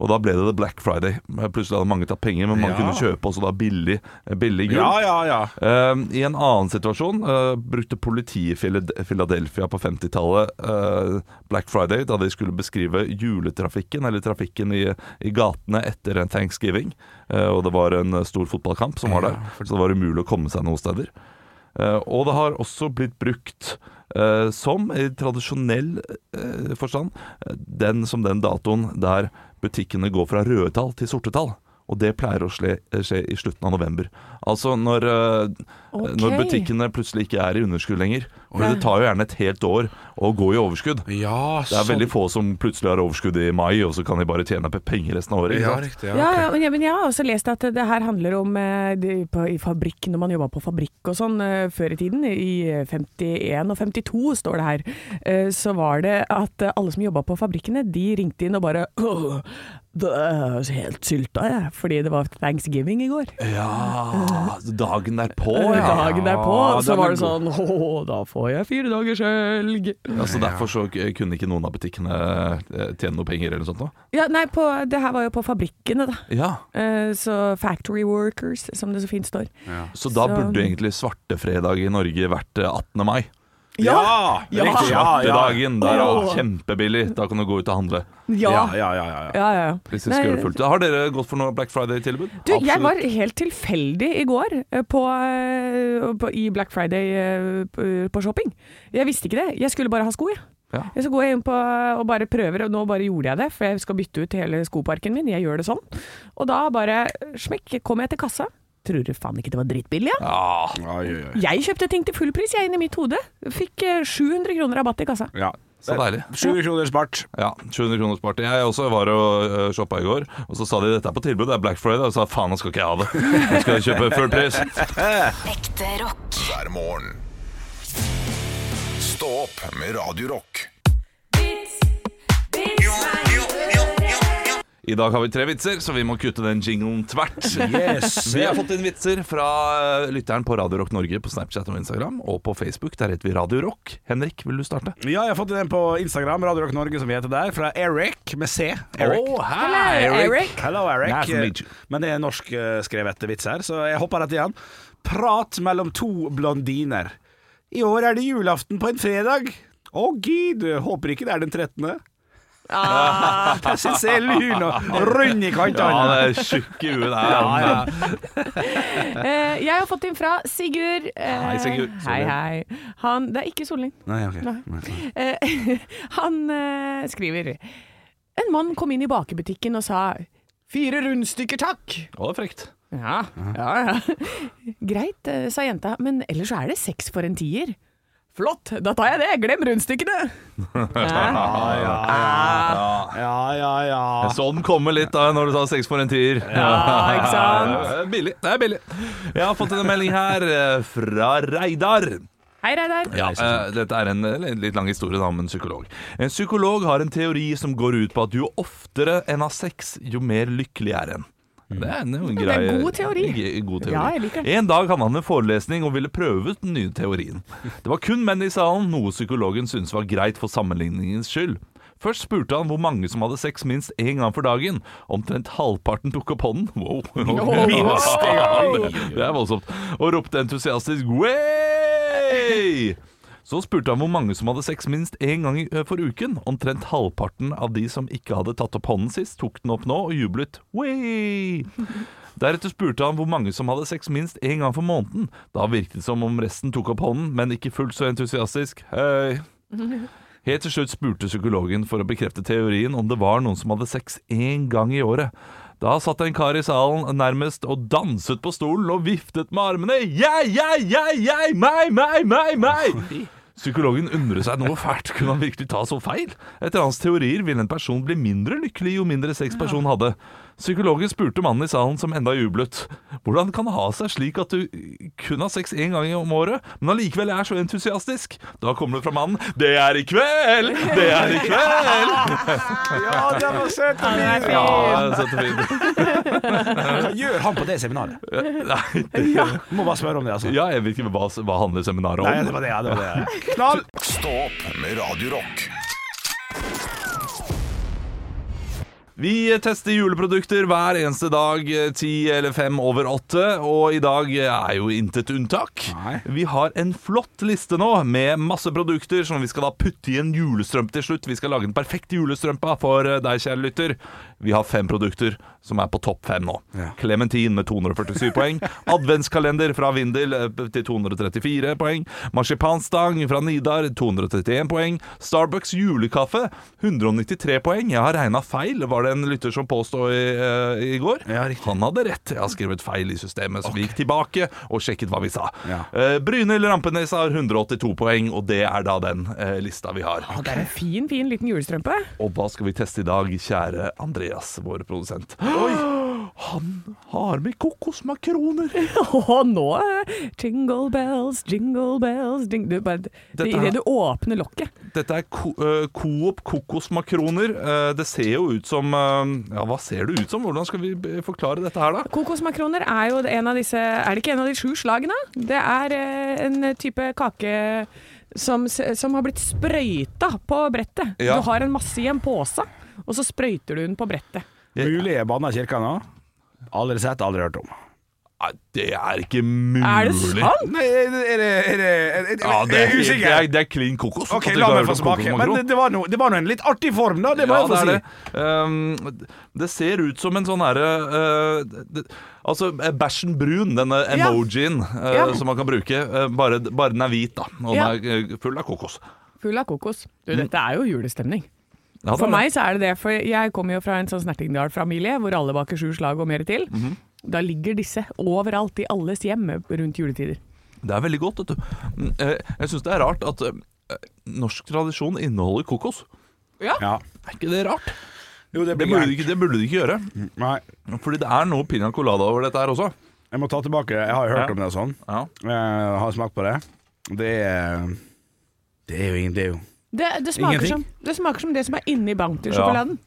Og da ble det The Black Friday. Eh, Plutselig hadde mange tatt penger, men man Ja. kunne kjøpe også da billig, eh, billig gull. Ja, ja, ja. Eh, I en annen situasjon eh, brukte politiet i Philad- Philadelphia på 50-tallet eh, Black Friday da de skulle beskrive juletrafikken, eller trafikken i, i gatene etter en thanksgiving. Eh, og det var en eh, stor fotballkamp som var der, så det var umulig å komme seg noen steder. Eh, og det har også blitt brukt eh, som i tradisjonell eh, forstand eh, den som den datoen der butikkene går fra røde tall til sorte tall. Og det pleier å sle, skje i slutten av november. Altså når, eh, Ok. når butikkene plutselig ikke er i underskudd lenger. For det tar jo gjerne et helt år å gå i overskudd. Ja, Det er veldig sånn. få som plutselig har overskudd i mai, og så kan de bare tjene pe- penger resten av året. ikke Ja, sant? riktig. Ja. Ja, ja, men jeg- men jeg har også lest at det her handler om eh, det, på, i fabrikk, når man jobba på fabrikk og sånn eh, før i tiden, i 51 og 52 står det her, eh, så var det at eh, alle som jobba på fabrikkene, de ringte inn og bare «Åh, det er helt sylta, jeg, fordi det var thanksgiving i går. Ja, dagen derpå, ja. Dagen derpå, den så er var det god. sånn Å, da får jeg fire dagers helg. Altså, derfor så k- kunne ikke noen av butikkene eh, tjene noe penger eller noe sånt nå. Ja, nei, på, det her var jo på fabrikkene, da. Ja, Eh, Så factory workers, som det så fint står. Så da Så- burde egentlig svartefredag i Norge vært eh, 18. mai. Ja! Ja! Riktig. Ja, ja. Svartedagen, der er Åh. det kjempebillig. Da kan du gå ut og handle. Ja, ja, ja, ja, ja. Ja, ja, ja. Hvis du skal Nei, gjøre det fullt. Har dere gått for noe Black Friday-tilbud? Du, jeg var helt tilfeldig i går eh, på, eh, på, i Black Friday eh, på, på shopping. Jeg visste ikke det. Jeg skulle bare ha sko, jeg. Ja. Jeg Så går jeg inn på og bare prøver, og nå bare gjorde jeg det, for jeg skal bytte ut hele skoparken min. Jeg gjør det sånn. Og da bare smekk, kom jeg til kassa. Tror du faen ikke det var dritbillig, ja? Ja, Oi, oi, oi. Jeg kjøpte ting til full pris, jeg, inni mitt hode. Fikk eh, 700 kroner rabatt i kassa. Ja. så deilig. 700 kroner spart. Ja, 700 kroner sparte. Jeg også var og øh, shoppa i går, og så sa de dette er på tilbud, det er Black Friday. Og så sa jeg, faen, nå skal ikke jeg ha det. Nå skal jeg kjøpe full pris. Ekte rock. hver morgen. Stå opp med Radio Rock. I dag har vi tre vitser, så vi må kutte den jinglen tvert. Yes. Vi har fått inn vitser fra øh, lytteren på Radio Rock Norge på Snapchat og Instagram, og på Facebook. Der heter vi Radio Rock. Henrik, vil du starte? Ja, jeg har fått den på Instagram, Radio Rock Norge, som vi heter der, fra Eric med C. Eric. Å, hei, Hello, Eric. Nice to meet you. Men det er en norsk eh, skrevet vits her, så jeg hopper rett igjen. Prat mellom to blondiner. I år er det julaften på en fredag. Å gid, håper ikke det er den 13. Det syns jeg er lun og rund i Ja, kantene. det er tjukk i huet der. Eh, jeg har fått inn fra Sigurd. eh, Hei, Sigurd. Hei, hei. Han, det er ikke Solling. Nei, ok. Nei. Eh, han eh, skriver En mann kom inn i bakebutikken og sa Fire rundstykker, takk! Å, det er frekt. Ja, ja, ja. Greit, eh, sa jenta, men ellers så er det seks for en tier. Flott, da tar jeg det. Glem rundstykkene. Hæ? Ja, ja, ja. Jeg så den komme Sånn litt da når du sa seks for en tier. Ja, ikke sant? Det er billig. Det er billig. Jeg har fått en melding her eh, fra Reidar. Hei, Reidar. Ja, eh, dette er en eh, litt lang historie da om en psykolog. En psykolog har en teori som går ut på at jo oftere en har sex, jo mer lykkelig er en. Det er en, det er en god teori. Ge- god teori. Ja, jeg liker den. En dag hadde han en forelesning og ville prøve ut den nye teorien. Det var kun menn i salen, noe psykologen syntes var greit for sammenligningens skyld. Først spurte han hvor mange som hadde sex minst én gang for dagen. Omtrent halvparten tok opp hånden. Wow. Minst Det er voldsomt. Og ropte entusiastisk «Way!» Så spurte han hvor mange som hadde sex minst én gang i- eh, for uken. Omtrent halvparten av de som ikke hadde tatt opp hånden sist, tok den opp nå og jublet «Way!» Deretter spurte han hvor mange som hadde sex minst én gang for måneden. Da virket det som om resten tok opp hånden, men ikke fullt så entusiastisk. Hei. Helt til slutt spurte psykologen for å bekrefte teorien om det var noen som hadde sex én gang i året. Da satt en kar i salen nærmest og danset på stolen og viftet med armene. Jeg, jeg, jeg, jeg, meg, meg, meg, meg! Psykologen undret seg noe fælt. Kunne han virkelig ta så feil? Etter hans teorier ville en person bli mindre lykkelig jo mindre sex personen hadde. Psykologen spurte mannen i salen, som enda jublet. Hvordan kan det ha seg slik at du kun har sex én gang i om året, men allikevel er så entusiastisk? Da kommer det fra mannen. Det er i kveld! Det er i kveld! Ja, det var søt og Ja, fin! det er Ja, fint. så fint. Hva gjør han på det seminaret? Nei, Må bare spørre om det, altså. Ja, jeg vet ikke hva, hva handler seminaret om. Nei, det var det, ja, det var det. Knall! Stå opp med Radio Rock. Vi tester juleprodukter hver eneste dag, eh, ti eller fem over åtte, og i dag er jo intet unntak. Nei. Vi har en flott liste nå med masse produkter som vi skal da putte i en julestrømpe til slutt. Vi skal lage den perfekte julestrømpa for eh, deg, kjære lytter. Vi har fem produkter som er på topp fem nå. Ja. Clementin med 247 poeng. Adventskalender fra Vindel eh, til 234 poeng. Marsipanstang fra Nidar 231 poeng. Starbucks julekaffe 193 poeng. Jeg har regna feil, var det en lytter som påstod i, eh, i går. Ja, riktig. Han hadde rett. Jeg har skrevet feil i systemet, så vi gikk tilbake og sjekket hva vi sa. Ja. Eh, Brynhild Rampenes har 182 poeng, og det er da den eh, lista vi har. Ah, Det er en fin, fin liten julestrømpe. Og hva skal vi teste i dag, kjære Andreas, vår produsent? Han har med kokosmakroner! Åh, nå eh, Jingle bells, jingle bells jing du, bare, det, Dette i her- det du åpner lokket. Dette er ko eh, Coop kokosmakroner. Eh, det ser jo ut som eh, Ja, hva ser det ut som? Hvordan skal vi eh, forklare dette her, da? Kokosmakroner er jo en av disse Er det ikke en av de sju slagene? Det er eh, en type kake som, s- som har blitt sprøyta på brettet. Ja. Du har en masse i en pose, og så sprøyter du den på brettet. Mulig jeg banna kirka nå? Aldri sett, aldri hørt om. Nei, det er ikke mulig. Er det sant? Nei, er det, er det, er det, er det Jeg Ja, det er, er helt- det er, usikker. det er klin kokos. Ok, At du la ikke har meg hørt få om smake. Men kokosmakron. det- det var nå no, en litt artig form, da. Det må Ja, jeg få si. det er det. Um, det ser ut som en sånn herre uh, det- Altså eh, bæsjen brun, denne emojien eh, Ja. som man kan bruke. eh, bare, bare den er hvit, da. Og Ja. den er eh, full av kokos. Full av kokos. Du, dette er jo Mm. julestemning. Ja, det For er meg så er det det, for jeg kommer jo fra en sånn Snertingdal-familie hvor alle baker sju slag og mer til. Mhm. Da ligger disse overalt i alles hjem rundt juletider. det. det er veldig godt, vet du. Mm, eh, Jeg syns det er rart at eh, norsk tradisjon inneholder kokos. Ja. Er ikke det rart? Jo, det Mm. blir Det burde de gærent. ikke, det burde de ikke gjøre. Nei, Fordi det er noe piña colada over dette her også. jeg må ta tilbake. Jeg har jo hørt Ja. om det og sånn. Ja. Jeg har smakt på det. Det er Det er jo ingen Det er jo Det, det, smaker, Ingenting. som, det smaker som det som er inni Bounty-sjokoladen.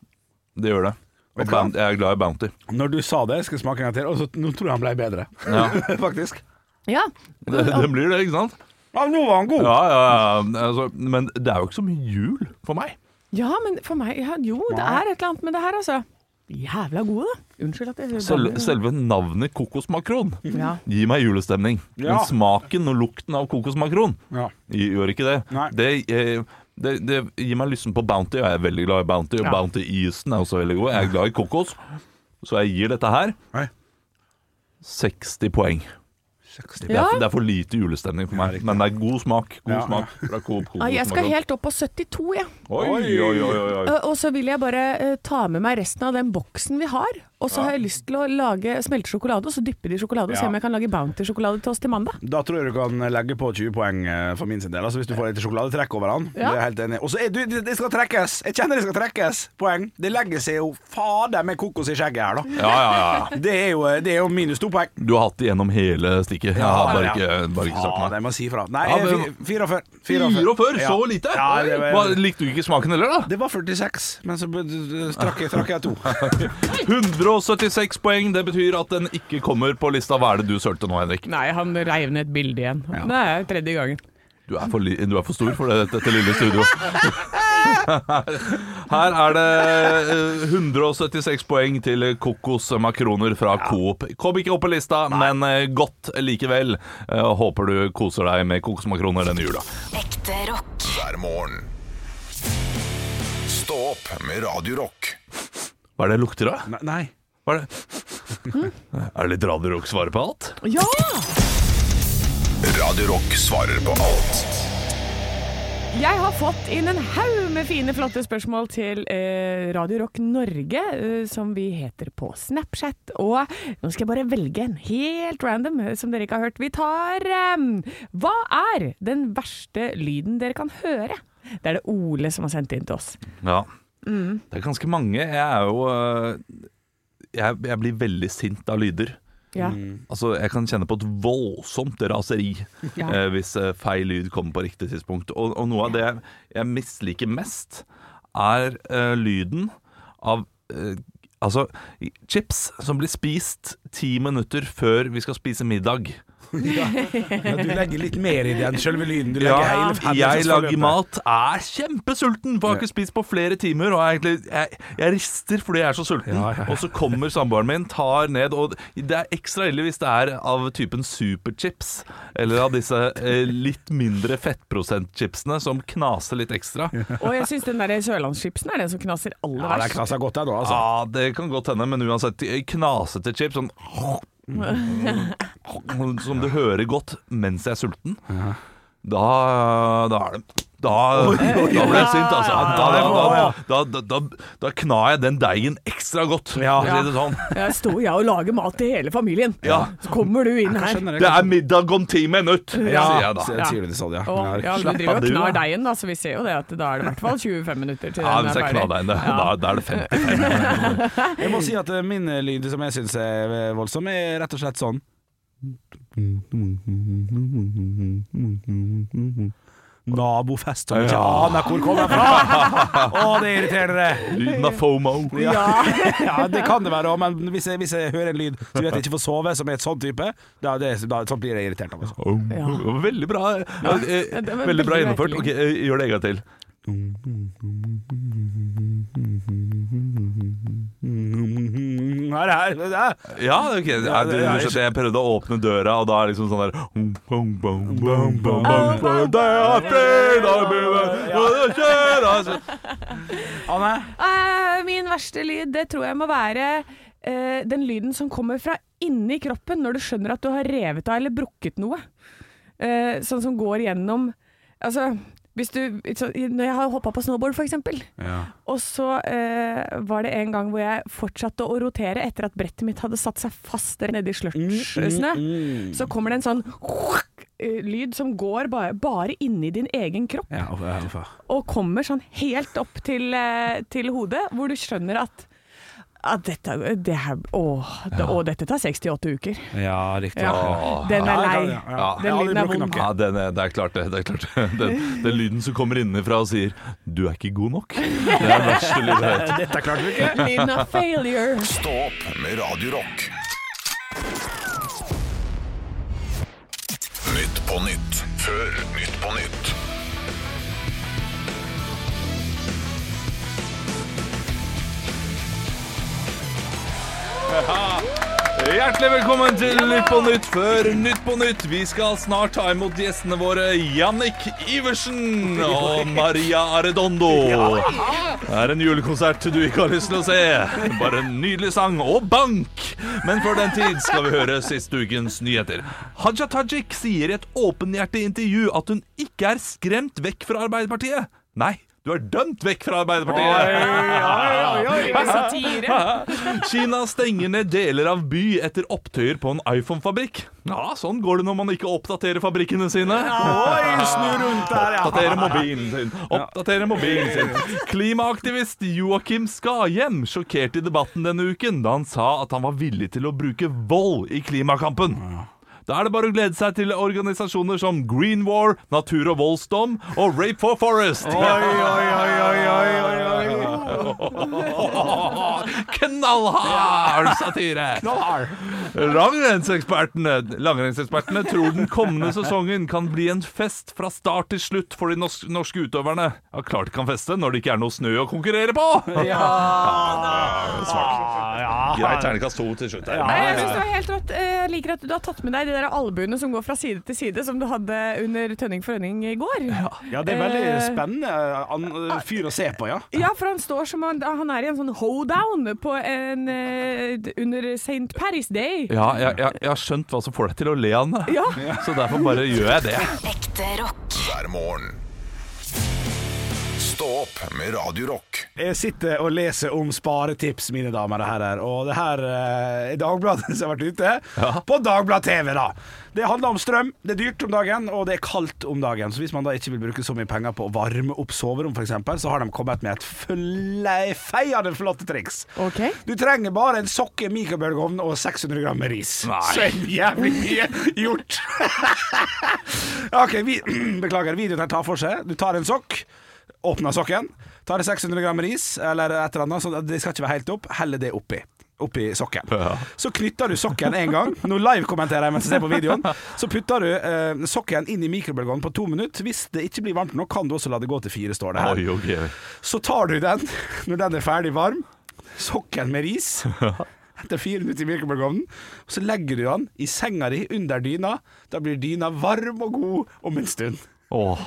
Det gjør det. Vet du Og hva? Bounty- jeg er glad i Bounty. Når du sa det, skal jeg smake en gang til. Og så, nå tror jeg han ble bedre, Ja. faktisk. Ja. Det, det blir det, ikke sant? Ja, nå var han god. Ja, ja, ja. Altså, men det er jo ikke så mye jul for meg. ja, men for meg ja, Jo, det er et eller annet med det her, altså. Jævla gode, da. Unnskyld at jeg Sel selve navnet kokosmakron Ja. gir meg julestemning. Ja. Men smaken og lukten av kokosmakron Ja. gi- gjør ikke det. Nei. Det, eh, det, det gir meg lysten på Bounty, og jeg er veldig glad i Bounty. Og Ja. Bounty-isen er også veldig god. Jeg er glad i kokos, så jeg gir dette her Nei. 60 poeng. Det, Ja. er, det er for lite julestemning for meg, men det er god smak. God Ja. smak fra Coop Ah, jeg skal kokosmakron. helt opp på 72, jeg. Oi, oi, oi, oi, oi. Og så vil jeg bare eh, ta med meg resten av den boksen vi har, Og så har jeg lyst til å lage smelte sjokolade, og så dypper de i sjokolade. Og se Ja. om jeg kan lage Bounty-sjokolade til oss til mandag. Da tror jeg du kan legge på 20 poeng eh, for min sin del. Altså Hvis du får litt sjokoladetrekk over den. Det Ja. er jeg helt enig. i. Og så er du, det det skal trekkes! Jeg kjenner det skal trekkes poeng. Det legger seg jo fader med kokos i skjegget her, da. Ja, ja, ja. Det er jo, det er jo minus to poeng. Du har hatt det gjennom hele stikket. Jeg har bare Ja. ikke, bare ikke sagt Ja, noe. det må jeg si fra. Nei, Ja, men- fi- 44. 44? Ja. Så lite? Ja, det, Hva, var, likte du ikke smaken heller, da? det var 46, men så b- d- trakk jeg, trakk jeg to. 176 poeng. Det betyr at den ikke kommer på lista. Hva er det du sølte nå, Henrik? Nei, han reiv ned et bilde igjen. Det er tredje gangen. Du er for, li du er for stor for det, dette lille studioet. Her er det eh, 176 poeng til kokosmakroner fra Coop. Kom ikke opp på lista, men eh, godt likevel. Eh, Håper du koser deg med kokosmakroner denne jula. Ekte rock. hver morgen. Stå opp med Radio Rock. Hva er det lukter av? Nei, Nei. Hva er det? Mm. Er det litt Radio Rock svarer på alt? Ja! Radio Rock svarer på alt Jeg har fått inn en haug med fine, flotte spørsmål til eh, Radio Rock Norge, eh, som vi heter på Snapchat. Og nå skal jeg bare velge en helt random, eh, som dere ikke har hørt. Vi tar eh, Hva er den verste lyden dere kan høre? Det er det Ole som har sendt inn til oss. Ja. Det er ganske mange. Jeg er jo øh, jeg, jeg blir veldig sint av lyder. Ja. Altså, Jeg kan kjenne på et voldsomt raseri Ja. eh, hvis eh, feil lyd kommer på riktig tidspunkt. Og, og noe av det jeg, jeg misliker mest, er eh, lyden av eh, Altså, chips som blir spist ti minutter før vi skal spise middag. Ja, du legger litt mer i det enn selve lyden. Du legger Ja, hele jeg lager hendelsesforløpet. mat, er kjempesulten, for jeg har ikke spist på flere timer. Og er egentlig, jeg, jeg rister fordi jeg er så sulten. Og så kommer samboeren min, tar ned Og det er ekstra ille hvis det er av typen superchips. Eller av disse eh, litt mindre fettprosentchipsene som knaser litt ekstra. Og jeg syns den der sørlandschipsen er den som knaser aller Ja, det verst. knasa godt der nå, altså. Ja, det kan godt hende, men uansett knasete chips sånn Som du hører godt mens jeg er sulten. Da Da er det da, da ble jeg sint, altså. Da, da, da, da, da, da, da kna jeg den deigen ekstra godt, for å si det sånn. Jeg sto jeg og lager mat til hele familien, Ja. så kommer du inn her. Skjønner jeg Det er middag om ti minutter, sier jeg da. Så- Sier du det sånn, ja. Ja. Og, ja, men slapp du av driver du, og knar da. deigen, da, så vi ser jo det at da er det i hvert fall 25 minutter til Ja, den hvis jeg er kna ferdig. deg inn, det- da, da er det 55. Jeg må si at eh, min eh, lyd som jeg syns er eh, voldsom, er rett og slett sånn. Nabofest som ikke Ja. aner hvor kommer fra! Å, det er irriterende! Lyden av FOMO. Ja. ja, det kan det være òg, men hvis jeg, hvis jeg hører en lyd som gjør at jeg ikke får sove, som er et sånn type, da, det, da sånn blir jeg irritert. av altså. Oh, Veldig bra eh, eh, det var Veldig bra veldig gjennomført. merkelig. Ok, eh, Gjør det en gang til. Her, her, her. Ja, ok. Ja, du, du skjønner, jeg prøvde å åpne døra, og da er det liksom sånn der Det er fredag, mine, og det skjer, altså. Anne? Eh, min verste lyd, det tror jeg må være eh, den lyden som kommer fra inni kroppen når du skjønner at du har revet av eller brukket noe. Eh, sånn som går gjennom Altså, hvis du så, Når jeg har hoppa på snowboard, for eksempel, og så eh, var det en gang hvor jeg fortsatte å rotere etter at brettet mitt hadde satt seg fast nedi slurtsnø, så kommer det en sånn eh, lyd som går bare, bare inni din egen kropp Ja, uff, ja, uff, ja. og kommer sånn helt opp til, eh, til hodet, hvor du skjønner at at dette, det her, åh, det, å, dette tar 68 uker. ja, riktig. Ja. Åh. Den er lei. Ja, ja, ja. Den Ja, lyden det er bruker vond. nok. Ja, den er, det er klart det. det er klart det. Den, den lyden som kommer innenfra og sier 'du er ikke god nok'. Det er den verste lyden jeg vet. Dette klarte vi ikke. Lyden av failure. Stå opp med Radio Rock Nytt på nytt Før Nytt på nytt Hjertelig velkommen til Nytt på Nytt før Nytt på Nytt. Vi skal snart ta imot gjestene våre Jannik Iversen og Maria Arredondo. Det er en julekonsert du ikke har lyst til å se. Bare en nydelig sang og bank. Men før den tid skal vi høre siste ukens nyheter. Haja Tajik sier i et åpenhjertig intervju at hun ikke er skremt vekk fra Arbeiderpartiet. Nei, Du er dømt vekk fra Arbeiderpartiet! Satire. Kina stenger ned deler av by etter opptøyer på en iPhone-fabrikk. Ja, sånn går det når man ikke oppdaterer fabrikkene sine. Oi, snu rundt der, ja. Oppdatere mobilen sin. Oppdatere mobilen sin. Klimaaktivist Joakim Skahjem sjokkerte i debatten denne uken da han sa at han var villig til å bruke vold i klimakampen. Da er det bare å glede seg til organisasjoner som Green War, Natur og voldsdom og Rape for Forest. Knallhard satire! Langrennsekspertene Langrennsekspertene tror den kommende sesongen kan bli en fest fra start til slutt for de norske, norske utøverne. Ja, klart de kan feste når det ikke er noe snø å konkurrere på! Ja, Svakt. Greit terningkast to til slutt. Nei, her. jeg synes det var helt rått. Eh, Jeg liker at du har tatt med deg de der albuene som går fra side til side, som du hadde under Tønning for Rønning i går. Ja, det er veldig Eh, spennende an- fyr å se på, ja. Ja, for han står som han, han er i en sånn hoedown på en, eh, d- under St. Paris Day. Ja, jeg, jeg, jeg har skjønt hva som får deg til å le av den, Ja. så derfor bare gjør jeg det. Ekte rock. hver morgen. Stå opp med Radio Rock. Jeg sitter og leser om sparetips, mine damer og herrer. Og det her eh, er Dagbladet som har vært ute. På Dagblad TV, da. Det handler om strøm. Det er dyrt om dagen, og det er kaldt om dagen. Så hvis man da ikke vil bruke så mye penger på å varme opp soverom, f.eks., så har de kommet med et fle- feiende flott triks. Ok. Du trenger bare en sokke, mikrobølgeovn og 600 gram med ris. Så er det jævlig mye gjort. ok, vi, beklager. Videoen her tar for seg. Du tar en sokk, åpner sokken, tar 600 gram ris eller et eller annet, så det skal ikke være helt opp, heller det oppi. Oppi sokken. Så knytter du sokken én gang. Nå live-kommenterer jeg mens jeg ser på videoen. Så putter du eh, sokken inn i mikrobølgeovnen på to minutter. Hvis det ikke blir varmt nok, kan du også la det gå til fire, står det her. Oi, ok. Så tar du den når den er ferdig varm, sokken med ris, etter fire minutter i mikrobølgeovnen, og så legger du den i senga di under dyna. Da blir dyna varm og god om en stund. Åh,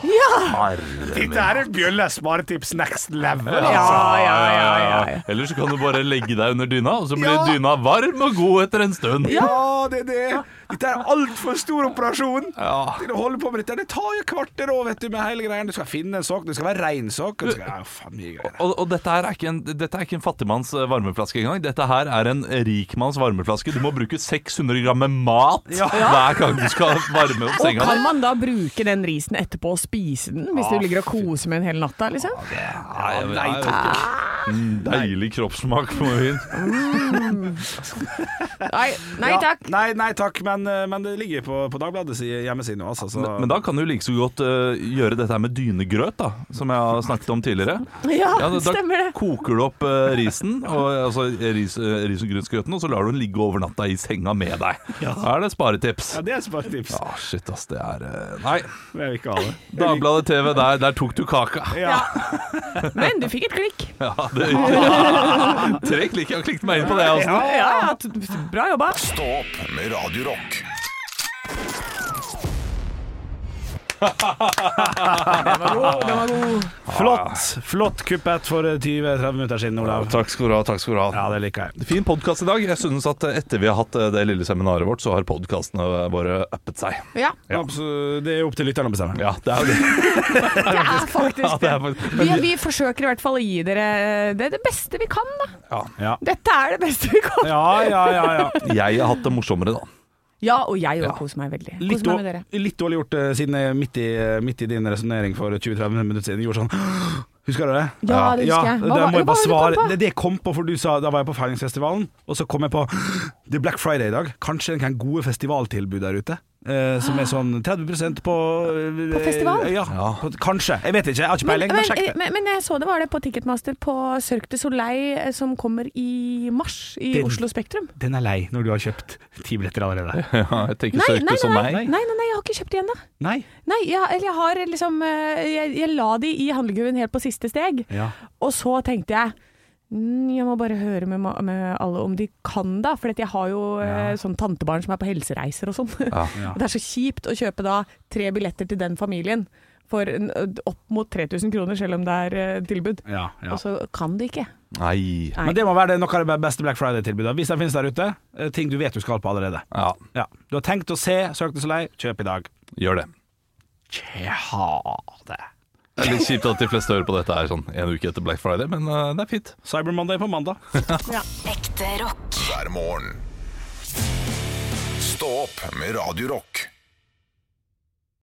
Dette er en bjølle sparetips next level, altså. Ja, ja, ja, ja, ja. Eller så kan du bare legge deg under dyna, og så blir Ja. dyna varm og god etter en stund. Ja, det er det. Dette er altfor stor operasjon til å holde på med dette. Det tar jo kvarter òg, vet du, med hele greia. Du skal finne en sokk, det skal være rein sokk. og det skal- Ja, faen mye greier. Og, og dette, her er ikke en, dette er ikke en fattigmanns eh, varmeflaske engang. Dette her er en rikmanns varmeflaske. Du må bruke 600 gram med mat hver gang du skal varme opp Og senga. kan man da bruke den risen etterpå og spise den, hvis du ligger og koser med den hele natta, liksom? Nei, jeg- jeg vet ikke. Mm, Deilig kroppssmak på vin. Nei, nei Ja, takk. Nei, nei takk, men, eh, men det ligger på, på Dagbladets hjemmeside nå, altså. Så. Men da kan du like så godt eh, gjøre dette her med dynegrøt, da, som jeg har snakket om tidligere. Ja, Ja, da, stemmer da det. koker du opp eh, risen, og, altså ris, eh, ris og grønnsgrøten, og så lar du den ligge over natta i senga med deg. Da er det sparetips. Ja, det er sparetips. Ja, shit, ass, det er eh, Nei. Jeg vil ikke ha det. Dagbladet TV, der, der tok du kaka. Ja. Men du fikk et klikk. Ja, det ja. Tre klikk. Jeg har klikket meg inn på det. Altså. Ja, ja, t- bra jobba. Stå opp med Radio Rock. Den var god. Flott flott kuppet for 20-30 minutter siden, Olav. Takk skal du ha. takk skal du ha Ja, det liker jeg. Fin podkast i dag. Jeg synes at etter vi har hatt eh, det lille seminaret vårt, så har podkastene våre uppet seg. Ja, Absolutt. Det er opp til lytterne å bestemme. Ja, det er jo det. det er faktisk det det. er faktisk. Vi, vi forsøker i hvert fall å gi dere det, det beste vi kan, da. Ja. Dette er det beste vi kan. Ja, ja, ja, ja. Jeg har hatt det morsommere, da. Ja, og jeg òg koser meg veldig. Litt, Koser meg med dere. dår- litt dårlig gjort eh, siden jeg midt i, midt i din resonnering for 20-30 minutter siden gjorde sånn Husker du det? Ja, det husker jeg. Hva det var- må jeg hva bare var det du kom svare. på? Det, det jeg kom på, for du sa da var jeg på Feiringsfestivalen, og så kom jeg på Det er Black Friday i dag. Kanskje en kan gode festivaltilbud der ute? Eh, som er sånn 30 på eh, På festival? Ja, på, kanskje. Jeg vet ikke, jeg har ikke Men, peiling. Men, men, sjekk det. men, men jeg så det var det på Ticketmaster på Cirque du Soleil eh, som kommer i mars i Den- Oslo Spektrum. Den er lei når du har kjøpt ti billetter allerede. Ja, jeg tenker Nei, nei, søke som nei, nei, meg. nei, nei, nei, jeg har ikke kjøpt det ennå. Nei. Nei, jeg, eller jeg har liksom eh, jeg, jeg la de i handlekurven helt på siste steg, Ja. og så tenkte jeg «Mm, jeg må bare høre med, ma- med alle om de kan da, for at jeg har jo eh, sånn tantebarn som er på helsereiser og sånn. Det er så kjipt å kjøpe da tre billetter til den familien for en- opp mot 3000 kroner, selv om det er eh, tilbud. Ja, ja. Og så kan de ikke. Nei. Nei. Men det må være det- noe av det beste Black Friday-tilbudet. Hvis den finnes der ute, eh, ting du vet du skal på allerede. Ja, Ja. Du har tenkt å se Søk deg så lei, kjøp i dag. gjør det. Tja, det. er litt kjipt at de fleste hører på dette her sånn en uke etter Black Friday, men eh, det er fint. Cyber Monday på mandag. Ekte rock. hver morgen. Stå opp med Radio Rock.